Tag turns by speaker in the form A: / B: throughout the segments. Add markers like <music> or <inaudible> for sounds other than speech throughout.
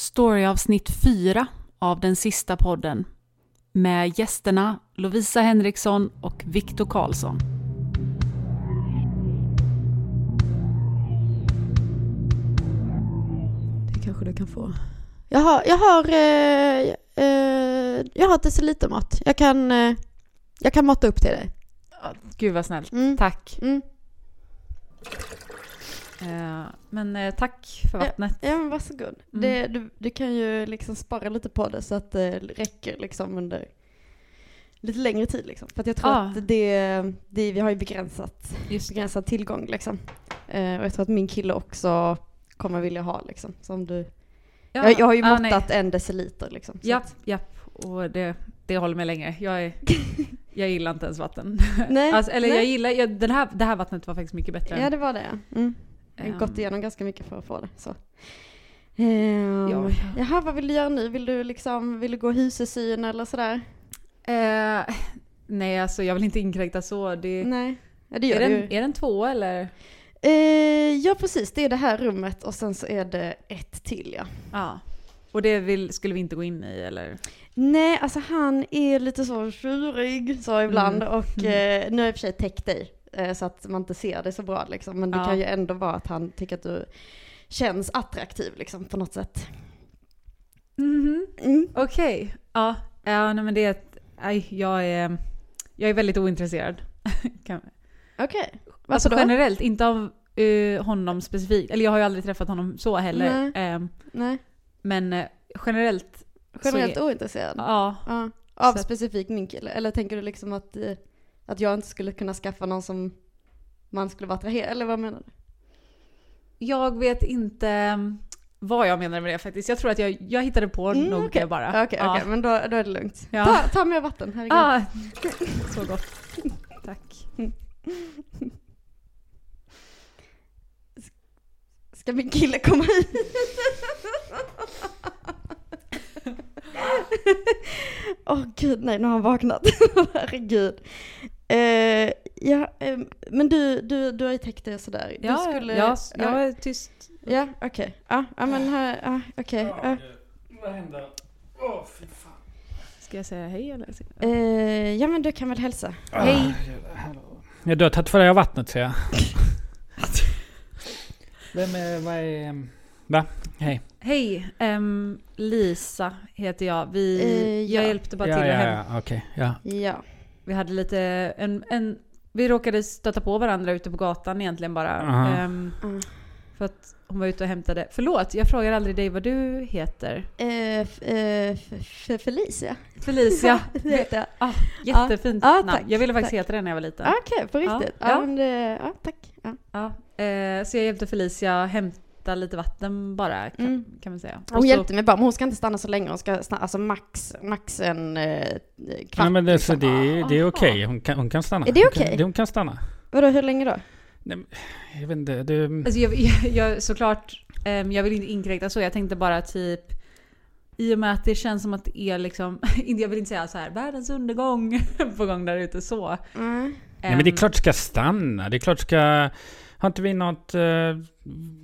A: storyavsnitt fyra av den sista podden med gästerna Lovisa Henriksson och Viktor Karlsson.
B: Det kanske du kan få. Jag har, jag har, eh, eh, jag har ett decilitermått. Jag kan, eh, jag kan måtta upp till dig.
A: Gud vad snällt.
B: Mm.
A: Tack.
B: Mm.
A: Eh, Men eh, tack för
B: Ja.
A: vattnet.
B: Ja men varsågod.
A: Mm.
B: Det, du, du kan ju liksom spara lite på det så att det räcker liksom under lite längre tid liksom. För att jag tror
A: Ja.
B: att det, det, vi har ju begränsat,
A: Ah. Just det.
B: begränsad tillgång liksom. Eh, och jag tror att min kille också kommer vilja ha liksom. Så om du,
A: Ja,
B: jag, jag har ju
A: ja, nej.
B: måttat en deciliter liksom. Så
A: Japp,
B: att-
A: japp. Och det, det håller mig länge. Jag,
B: <laughs>
A: är, jag gillar inte ens vatten.
B: Nej,
A: Alltså, eller jag
B: nej.
A: gillar, jag, den här, det här vattnet var faktiskt mycket bättre.
B: Ja det var det ja. Mm. Jag har
A: Ehm,
B: gått igenom ganska mycket för att få det. Så. Ehm,
A: Ja.
B: Jaha, vad vill du göra nu? Vill du, liksom, vill du gå husesyn eller sådär?
A: eh, nej, alltså jag vill inte inkräkta så. Det,
B: Nej, ja, det gör
A: Mm. är,
B: du
A: den,
B: ju.
A: är den två eller?
B: Eh, ja precis, det är det här rummet och sen så är det ett till ja.
A: Ja. Och det vill, skulle vi inte gå in i eller?
B: Nej, alltså han är lite så tjurig så ibland
A: Mm.
B: och eh, nu har jag i och för sig täckt dig eh, så att man inte ser det så bra liksom. Men det
A: Ja.
B: kan ju ändå vara att han tycker att du känns attraktiv liksom på något sätt.
A: Mhm.
B: Mm.
A: Okej. Ja, ja nej, men det är ett, aj, jag är, jag är väldigt ointresserad. Kan,
B: Okej,
A: alltså
B: varför då?
A: generellt, inte av eh, honom specifikt. Eller jag har ju aldrig träffat honom så heller. Ehm,
B: Nej,
A: men eh, generellt,
B: generellt
A: Så
B: ointresserad.
A: ja.
B: Ja. Av
A: Så att-
B: specifikt min kille? Eller tänker du liksom att, eh, att jag inte skulle kunna skaffa någon som man skulle vara attraherad Eller vad menar du?
A: Jag vet inte mm, vad jag menar med det faktiskt. Jag tror att jag, jag hittade på
B: Mm,
A: nog
B: okej.
A: det bara.
B: Okej, Mm. okej,
A: ja.
B: men då, då är det lugnt.
A: Ja.
B: Ta, ta med vatten, herregud.
A: Ah,
B: <laughs>
A: så gott. Tack.
B: Ska min kille
A: <laughs>
B: komma hit? Åh gud, nej nu har han vaknat. <laughs> Herregud. Eh, ja, eh, men du, du, du har ju täckt dig sådär.
A: Ja,
B: du skulle,
A: jag, jag är tyst.
B: Ja, okej. Ja, ja, men här, ja, okej. ja.
C: Vad händer? Åh, fy fan.
A: Ska jag säga hej eller?
B: Eh, ja men du kan väl hälsa.
A: Hej.
C: Ja, du har tagit för dig av vattnet ser jag. Vem är, vad är... Va? Hej.
A: Hej, ehm, Lisa heter jag. Vi,
B: Eh,
A: Jag
B: ja.
A: hjälpte bara
C: Ja,
A: till
C: ja,
A: att hem.
C: ja, okej. Ja.
B: Ja.
A: Vi hade lite en, en, Vi råkade stöta på varandra ute på gatan egentligen bara.
C: Aha.
A: Ehm,
B: Mm.
A: för att hon var ute och hämtade... Förlåt, jag frågar aldrig dig vad du heter.
B: Eh, f- eh, f- f- Felicia
A: Felicia.
B: <laughs> det heter jag.
A: Ah, jättefint
B: Ja,
A: namn.
B: tack,
A: jag ville faktiskt
B: tack.
A: heta det när jag var liten.
B: Ah, Okej, på
A: Ja,
B: riktigt. Ja,
A: ja.
B: men det, ja tack. Ja.
A: Ja, eh, så jag hjälpte Felicia hämta lite vatten bara kan,
B: Mm.
A: kan man säga.
B: Hon
A: Och så-
B: hjälpte mig bara, men hon ska inte stanna så länge. Hon ska stanna, alltså max, max en eh, kvart.
C: Nej, men det, så det,
A: liksom.
C: det är okej.
A: Ah,
C: Hon, kan, hon kan stanna.
B: Är det
C: Hon kan-
B: okej?
C: det- Hon kan stanna.
B: Vadå, hur länge då?
C: Nej, men, jag vet inte. Det,
A: Alltså jag, jag, jag, såklart, ehm, jag vill inte inkräkta så. Jag tänkte bara typ i och med att det känns som att det är liksom, <laughs> inte- jag vill inte säga så här världens undergång <laughs> på gång där ute så. Ehm,
B: Mm.
C: nej, men det är klart ska stanna. Det är klart ska... Har inte vi något... eh,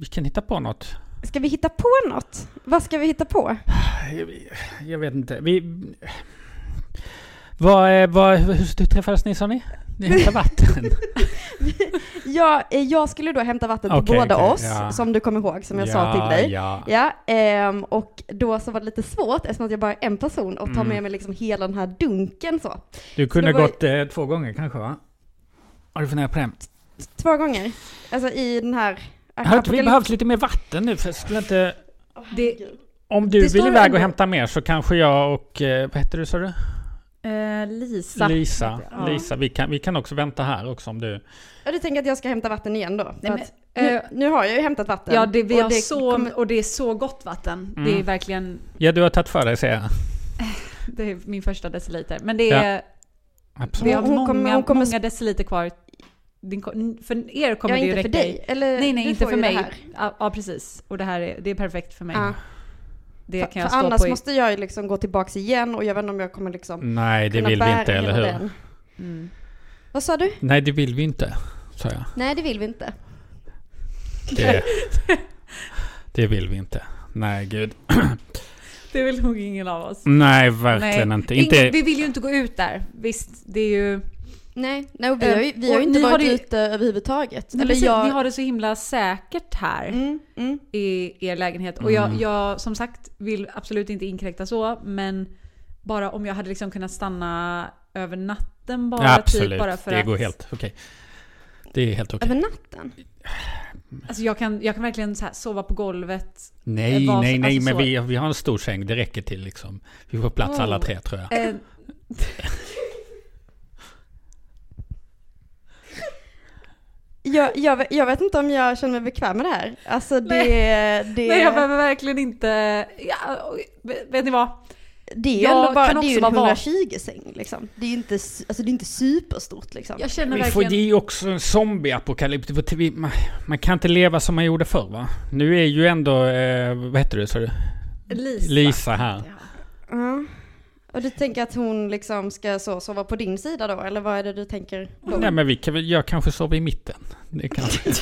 C: vi kan hitta på något.
B: Ska vi hitta på något? Vad ska vi hitta på?
C: Jag, jag vet inte. Vi... Vad, är- vad, hur, hur träffades ni sa ni? Ni hämtade vatten?
B: Jag, eh, jag skulle då hämta vatten till
C: Okej,
B: båda
C: okej,
B: oss,
C: ja.
B: som du kommer ihåg, som jag
C: ja,
B: sa till dig.
C: Ja.
B: Ja, ehm, och då så var det lite svårt eftersom att jag bara är en person och tar
C: Mm.
B: med mig liksom hela den här dunken så.
C: Du kunde
B: det var ju-
C: gått eh, två gånger kanske va? Har du funderat på det?
B: Två gånger. Alltså i den här...
C: Hade inte vi behövt lite mer vatten nu? För skulle inte...
B: Åh,
A: Det-
B: herregud.
C: Om du
A: Det
C: vill
A: står
C: iväg
A: ändå-
C: och hämta mer så kanske jag och... eh, Vad heter du sa du?
A: Eh, Lisa.
C: Lisa.
A: heter jag.
C: Lisa. Vi, kan, vi kan också vänta här också om du...
B: Ja, du tänker att jag ska hämta vatten igen då? För
A: Nej, men,
B: att nu,
A: eh,
B: nu har jag ju hämtat vatten.
A: Ja, det, vi
B: och
A: har
B: det
A: så,
B: kommer-
A: och det är så gott vatten.
C: Mm.
A: Det är verkligen,
C: Ja, du har tagit för dig ser jag.
A: det är min första deciliter. Men det är, vi
C: Absolut.
A: har
B: Hon
A: många,
B: kommer- hon kommer-
A: många deciliter kvar. Din, ko- för er kommer
B: Ja,
A: det ju
B: inte
A: räcka
B: för
A: i-
B: dig. Eller,
A: Nej, nej,
B: du
A: inte
B: får
A: för
B: ju det
A: mig.
B: här.
A: Ja, ja, precis. Och det här är, det är perfekt för mig.
B: Ja.
A: Det
B: För-
A: kan jag
B: för
A: stå
B: annars
A: på i...
B: måste jag ju liksom gå tillbaks igen och jag vet inte om jag kommer liksom
C: Nej, det
B: kunna
C: vill vi
B: bära
C: inte, eller
B: hela
C: hur?
B: den.
A: Mm.
B: Vad sa du?
C: Nej, det vill vi inte, sa jag.
B: Nej, det vill vi inte.
C: Det, det vill vi inte. Nej, gud.
A: Det vill nog ingen av oss.
C: Nej, verkligen inte.
A: Ingen,
C: inte.
A: vi vill ju inte gå ut där. Visst, det är ju...
B: Nej, nej och vi har ju, vi har
A: Och
B: ju inte
A: ni har
B: varit
A: det ju-
B: ute överhuvudtaget.
A: Nej,
B: Eller
A: precis,
B: jag...
A: Ni har det så himla säkert här
B: mm, mm.
A: i er lägenhet. Och jag,
C: Mm.
A: jag som sagt vill absolut inte inkräkta så, men bara om jag hade liksom kunnat stanna över natten bara.
C: Ja, absolut,
A: Typ, bara för
C: det
A: att,
C: går helt okej. Det är helt okej.
B: Över natten?
A: Alltså jag, kan, jag kan verkligen så här sova på golvet.
C: Nej,
A: vad-
C: nej, nej,
A: alltså
C: men
A: så-
C: vi, vi har en stor säng. Det räcker till liksom. Vi får plats alla
B: Oh.
C: tre tror jag.
A: Eh,
B: Jag, jag, vet- jag vet inte om jag känner mig bekväm med det här. Alltså det, det,
A: Nej, jag behöver verkligen inte... Ja, vet vet ni vad?
B: det är ju
A: jag
B: ändå bara,
A: kan
B: det är ju
A: också
B: en
A: vara van.
B: 120-säng liksom. Det är ju inte, s- alltså, det är inte superstort liksom.
A: Jag känner
C: Vi får,
A: verkligen...
C: det är ju också en zombieapokalyps. Det får- vi- Man, man kan inte leva som man gjorde förr va? Nu är ju ändå, eh, vad heter du sa du?
A: Lisa.
C: Lisa här.
B: Ja. Och du tänker att hon liksom ska så, sova på din sida då? Eller vad är det du tänker? Då?
C: Nej men vi kan väl, jag kanske sover i mitten.
A: <laughs>
C: Det kanske.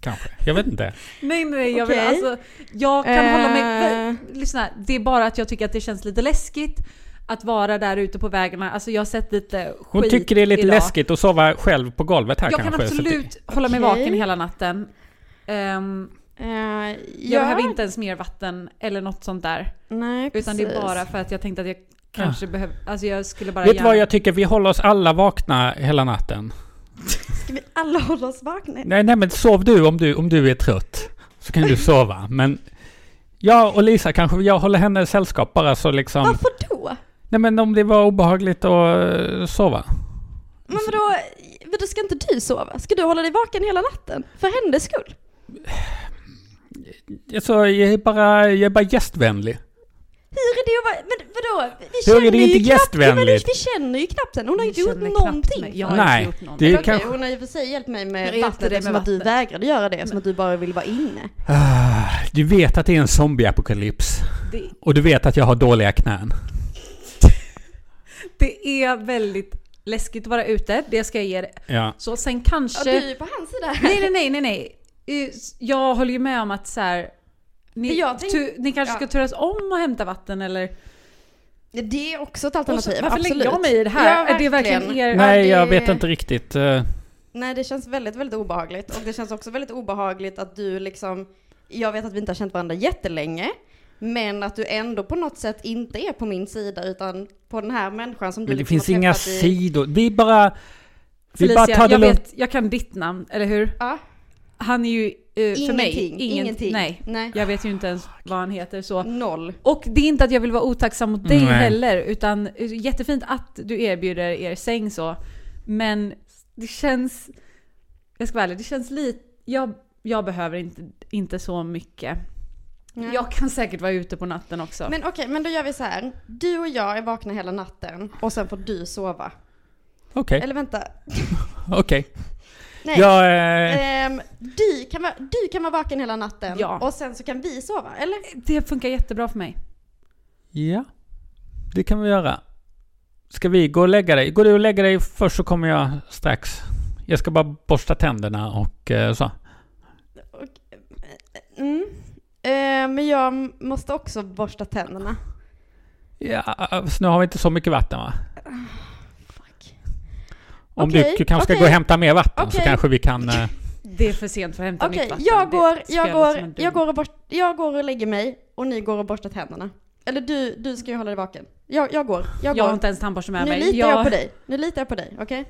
C: kanske. Jag vet inte.
A: Nej, nej, nej, jag vill
B: Okej.
A: alltså... Jag kan hålla mig...
B: Eh.
A: Lyssna, det är bara att jag tycker att det känns lite läskigt att vara där ute på vägarna. Alltså jag har sett lite skit
C: Hon tycker det är lite
A: idag.
C: läskigt att sova själv på golvet här
A: Jag
C: kanske.
A: kan
C: så att
A: absolut hålla mig
B: Okej.
A: vaken hela natten. Ehm,
B: Eh,
A: jag
B: ja.
A: behöver inte ens mer vatten eller något sånt där.
B: Nej, precis.
A: Utan det är bara för att jag tänkte att jag kanske behöver... Alltså jag skulle bara
C: det, vet du vad jag tycker? Vi håller oss alla vakna hela natten.
B: Ska vi alla hålla oss vakna?
C: Nej, nej men sov du om, du om du är trött. Så kan du sova. Men jag och Lisa kanske, jag håller henne sällskap bara så liksom.
B: Varför då?
C: Nej men om det var obehagligt att eh, sova.
B: Men vadå, vadå, ska inte du sova? Ska du hålla dig vaken hela natten? För hennes skull?
C: Alltså, jag är bara, jag är bara gästvänlig.
B: Hur är det att vara, men vadå? Vi
C: Hur är det
B: känner ju
C: inte
B: knappt- Ja, men
C: gästvänligt?
B: vi känner ju knappt henne, hon har
A: Ni
B: inte gjort
A: känner knappt
B: någonting.
A: mig. Jag har
C: Nej,
A: inte gjort någonting.
C: det är
B: Okej,
C: kanske...
B: hon har ju för sig hjälpt mig
A: Jag
B: med
A: hjälpte
B: vattnet
A: dig med
B: eftersom att du
A: vattnet.
B: vägrade göra det, som att du bara ville vara inne.
C: Ah, Du vet att det är en zombieapokalyps.
A: Det,
C: Och du vet att jag har dåliga knän.
A: det är väldigt läskigt att vara ute, det ska jag ge dig.
C: Ja.
A: Så sen
B: Ja,
A: kanske...
B: du är ju på hans sida.
A: Nej, nej, nej, nej, nej. Eh, Jag håller ju med om att så här, ni,
B: Men jag tänk-
A: tu, ni kanske ska
B: ja.
A: turas om och hämta vatten eller...
B: Det är också ett
A: Och så,
B: alternativ,
A: varför
B: absolut.
A: lägger jag mig i det här?
B: Ja,
A: är det verkligen er...
C: Nej,
B: det-
C: jag vet inte riktigt. eh,
B: Nej, det känns väldigt, väldigt obehagligt. Och det känns också väldigt obehagligt att du liksom, jag vet att vi inte har känt varandra jättelänge, men att du ändå på något sätt inte är på min sida utan på den här människan som du
C: Men det
B: liksom
C: finns
B: har
C: inga
B: träffat i-
C: sidor. Vi bara... Vi
A: Felicia,
C: bara tar det
A: jag,
C: lugnt.
A: vet, jag kan ditt namn, eller hur?
B: Ja,
A: Han är ju eh, för mig...
B: ingenting,
A: ingen-
B: ingenting.
A: Nej,
B: Nej.
A: jag vet ju inte ens vad han heter så.
B: Noll.
A: Och det är inte att jag vill vara otacksam mot dig
C: Nej.
A: heller, utan eh, jättefint att du erbjuder er säng så. Men det känns... Jag ska vara ärlig, det känns lite... Jag, jag behöver inte, inte så mycket.
B: Nej.
A: Jag kan säkert vara ute på natten också.
B: Men okej, men då gör vi så här. Du och jag är vakna hela natten och sen får du sova.
C: Okej,
B: Eller vänta.
C: okej.
B: Nej.
C: Jag... eh,
B: Ehm, du, kan vara, du kan vara vaken hela natten
A: Ja.
B: och sen så kan vi sova, eller?
A: det funkar jättebra för mig.
C: Ja, det kan vi göra. Ska vi gå och lägga dig? Går du och lägger dig först så kommer jag strax. Jag ska bara borsta tänderna och eh, så.
B: Mm. Ehm, men jag m- måste också borsta tänderna.
C: Ja, så nu har vi inte så mycket vatten va?
B: Fuck.
C: Om
B: Okej,
C: du, du kanske ska
B: okej.
C: gå och hämta mer vatten så
B: Okej.
C: kanske vi kan... eh,
A: Det är för sent för att hämta
B: Okej,
A: nytt vatten.
B: jag,
A: Det
B: går,
A: spelar
B: jag,
A: som en
B: går,
A: dum-
B: jag, går och borst, jag går och lägger mig och ni går och borstar tänderna. Eller du, du ska ju hålla dig vaken. Jag, jag går, jag
A: Jag har
B: går.
A: inte ens tandborste med
B: Nu
A: mig.
B: litar jag på dig, nu litar jag på dig, okej?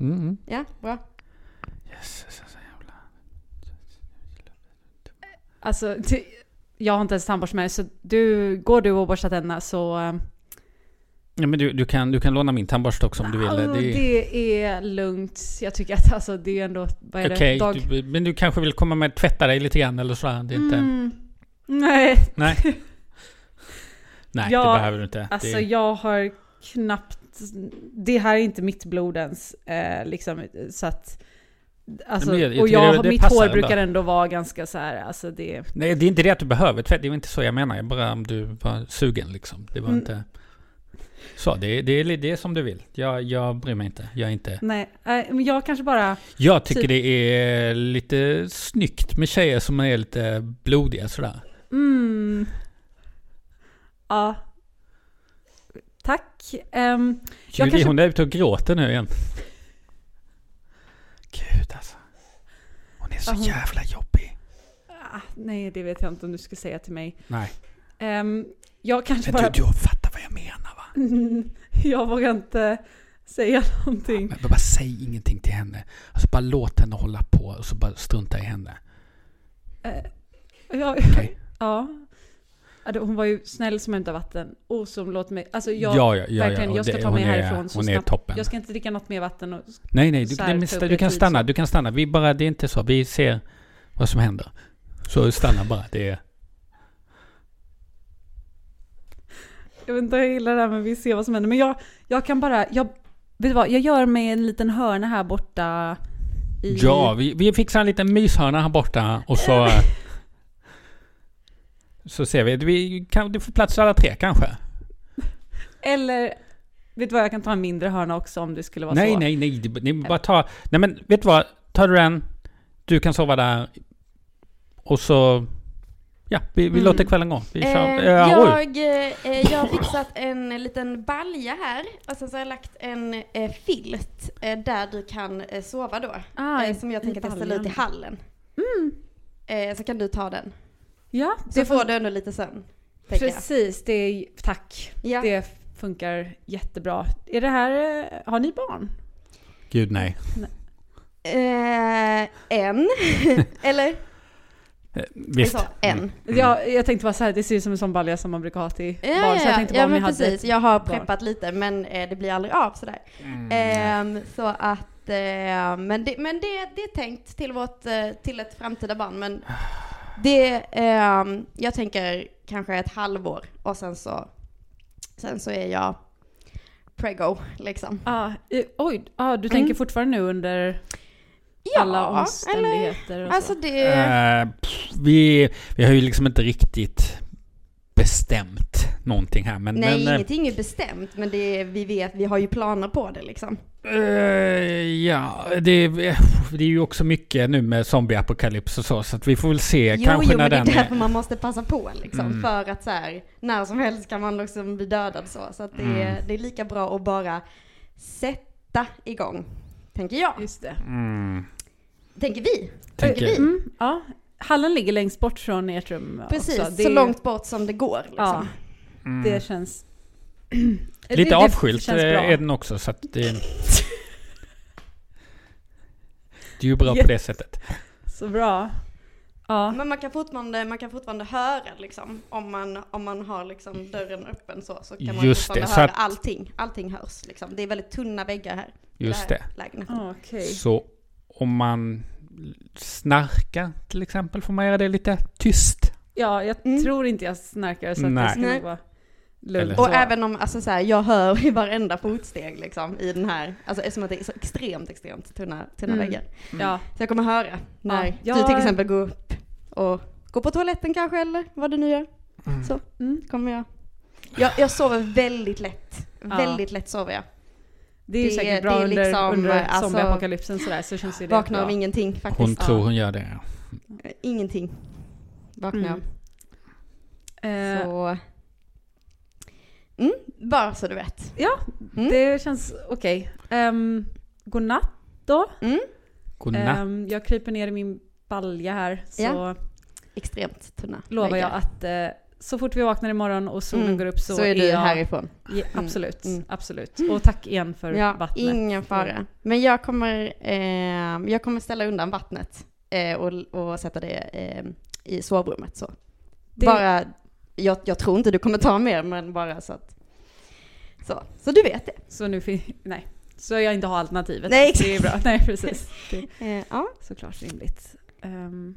C: Mm. mm.
B: Ja, bra.
A: Alltså, det- jag har inte ens tandborste med mig, så du, går du och borstar tänderna så... eh,
C: Ja, men du, du, kan, du kan låna min tandborste också om du vill.
A: ah,
C: Det är-
A: det är lugnt. Jag tycker att alltså, det är ändå... Vad är det?
C: Okej,
A: Dag...
C: du, men du kanske vill komma med och tvätta dig lite grann eller sådär? Det är inte,
A: Mm. Nej,
C: Nej. Nej,
A: Ja,
C: det behöver du inte.
A: alltså
C: det,
A: jag har knappt... Det här är inte mitt blod ens. Eh, liksom, så att... Alltså,
C: Men jag- jag
A: och
C: tycker
A: jag,
C: det- det
A: mitt
C: passar
A: hår
C: ändå.
A: brukar ändå vara ganska så här, alltså det...
C: nej, det är inte det att du behöver tvätta. Det var inte så jag menar. Jag bara om du var sugen liksom. Det var
A: Mm.
C: inte... Så, det, det, är- det är som du vill. Jag, jag bryr mig inte. Jag, är inte.
A: Nej, nej, men jag kanske bara...
C: jag tycker
A: Typ-
C: det är lite snyggt med tjejer som är lite blodiga sådär.
A: Mm. Ja. Tack. Ehm, Jag
C: Julie,
A: kanske-
C: hon är ute och gråter nu igen. Gud alltså. Hon är så
A: Ja, hon-
C: jävla jobbig.
A: ah, nej, det vet jag inte om du ska säga till mig.
C: Nej,
A: Ehm, jag kanske
C: men du,
A: bara...
C: du fattar vad jag menar va?
A: <laughs> jag vågar inte säga någonting.
C: Men bara säg ingenting till henne. Alltså bara låt henne hålla på och så bara strunta i henne.
A: Ja,
C: Okej?
A: ja. Ja, det- Hon var ju snäll som hämtade vatten och som låt mig... Alltså jag,
C: ja,
A: verkligen, jag ska
C: Det-
A: ta
C: hon
A: mig
C: är-
A: härifrån så
C: Hon är
A: snabbt.
C: toppen.
A: jag ska inte dricka något mer vatten. Och,
C: Nej, nej, du,
A: så här
C: nej, men
A: ta
C: sta-
A: upp
C: du
A: er
C: kan
A: tid,
C: stanna.
A: så.
C: Du kan stanna. Vi bara, det är inte så. Vi ser vad som händer. Så stanna bara. Det är,
A: jag vet inte, jag gillar det här men vi ser vad som händer. Men jag, jag kan bara... Jag, vet du vad, jag gör mig en liten hörna här borta i...
C: ja, vi, vi fixar en liten myshörna här borta
A: <laughs>
C: och så... så ser vi. vi kan, du får plats alla tre kanske?
A: Eller, vet du vad, jag kan ta en mindre hörna också om det skulle vara
C: Nej,
A: så. Äh.
C: nej, nej. det- nej bara ta, nej, men vet du vad? Tar du en, du kan sova där och så... Ja, vi, vi
A: Mm.
C: låter kvällen gå. Vi kör.
B: Eh,
C: Eh, oj.
B: jag, eh, jag har fixat en liten balja här och sen så har jag lagt en eh, filt eh, där du kan eh, sova då.
A: Ah,
B: eh, som jag
A: i
B: tänker att jag ställer ut i
A: baljan.
B: hallen. Eh, så kan du ta den.
A: Ja,
B: Så får du ändå lite sömn. tänker jag.
A: precis. Det är, tack.
B: Ja.
A: Det funkar jättebra. Är det här, eh, har ni barn?
C: Gud nej.
B: Eh, <laughs> en. Eller?
C: Eh,
B: Vi
C: Visst.
B: sa en.
A: Jag, jag tänkte bara så här, det ser ut som en sån balja som man brukar ha till
B: Mm. Ja,
A: barn. Så jag
B: ja, ja,
A: tänkte bara
B: ja
A: om jag
B: men
A: hade...
B: precis. Jag har
A: barn.
B: preppat lite men eh, det blir aldrig av sådär.
C: Mm.
A: Eh,
B: Ehm, så att, eh, men, det, men det, det är tänkt till, vårt, eh, till ett framtida barn. Men det, ehm, jag tänker kanske ett halvår och sen så, sen så är jag prego liksom.
A: Ah, eh, oj, ah, du
B: Mm.
A: tänker fortfarande nu under alla omständigheter och så.
B: Alltså det,
C: Eh, pff, vi, vi har ju liksom inte riktigt bestämt någonting här. Men,
B: nej
C: men, eh,
B: ingenting är bestämt men det, är- vi vet, vi har ju planer på det liksom.
C: eh, ja, det, det är ju också mycket nu med zombieapokalyps och så. Så att vi får väl se
B: Jo,
C: kanske
B: jo
C: när
B: men det är
C: den
B: därför
C: är...
B: man måste passa på liksom.
C: Mm.
B: För att så här, när som helst kan man liksom bli dödad så. Så att det, är,
C: Mm.
B: det är lika bra att bara sätta igång. Tänker jag.
A: Just det.
C: Mm,
B: Tänker vi.
C: <laughs> tänker,
B: vi.
A: Mm, ja. Hallen ligger längst bort från ert rum
B: Precis,
A: också. Det,
B: så långt bort som det går. Liksom.
C: mm.
A: det känns...
C: <clears throat> Lite
A: det
C: avskilt
A: känns
C: eh,
A: bra.
C: är den också. Så att det, <laughs> det är ju bra på det sättet.
A: Så bra. Ja.
B: Men man kan fortfarande, man kan fortfarande höra liksom. Om man, om man har liksom dörren öppen så. Så kan man
C: Just
B: fortfarande
C: det, så
B: höra
C: att-
B: allting. Allting hörs liksom. Det är väldigt tunna väggar här. i
C: Just
B: den här
C: det.
B: Lägenheten.
A: Ah, Okej.
C: Så om man snarkar till exempel får man göra det lite tyst.
A: Ja, jag
B: Mm.
A: tror inte jag snarkar så att
C: Nej.
A: det ska
B: Nej.
A: nog vara lugnt.
C: Eller-
B: Och
A: så.
B: även om, alltså så här, jag hör i varenda fotsteg liksom i den här, alltså eftersom att det är så extremt, extremt tunna, tunna
A: Mm.
B: väggar.
A: Ja,
B: Så jag kommer höra när
A: Ja.
B: du
A: Jag-
B: till exempel går upp och går på toaletten kanske eller vad du nu gör. Så
A: Mm.
B: kommer jag. Jag, jag sover väldigt lätt.
A: Ja.
B: Väldigt lätt sover jag.
A: det är ju
B: Det-
A: säkert
B: det
A: bra
B: är
A: under,
B: liksom,
A: under
B: alltså,
A: zombieapokalypsen sådär så känns ju det
B: Vaknar av
A: bra.
B: ingenting faktiskt.
C: Hon tror
A: Ja.
C: hon gör det.
B: Eh, Ingenting. Vaknar jag
A: Mm.
B: av.
A: Eh,
B: Så... Mm, bara så du vet. Mm.
A: Det känns okej. Um, godnatt.
B: Mm,
C: Godnatt.
A: Ehm, jag kryper ner i min balja här så
B: Ja. extremt tunna
A: lovar
B: väggar.
A: jag att eh, så fort vi vaknar imorgon och solen
B: Mm.
A: går upp så,
B: Så är du
A: jag...
B: härifrån.
A: Ja, absolut,
B: Mm.
A: absolut. Och tack igen för
B: Ja,
A: vattnet.
B: ingen fara. Men jag kommer, eh, jag kommer ställa undan vattnet eh, och, och sätta det eh, i sovrummet. Så.
A: Det-
B: Bara, jag, jag tror inte du kommer ta mer, men bara så att... Så, så du vet det.
A: Så nu finns... <laughs> Nej. Så jag inte har alternativet.
B: Nej, exakt.
A: det är bra. <laughs> Nej, precis. Det är
B: Eh, ja.
A: såklart rimligt. Um,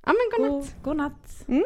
B: ja, men godnatt.
A: godnatt.
B: Mm.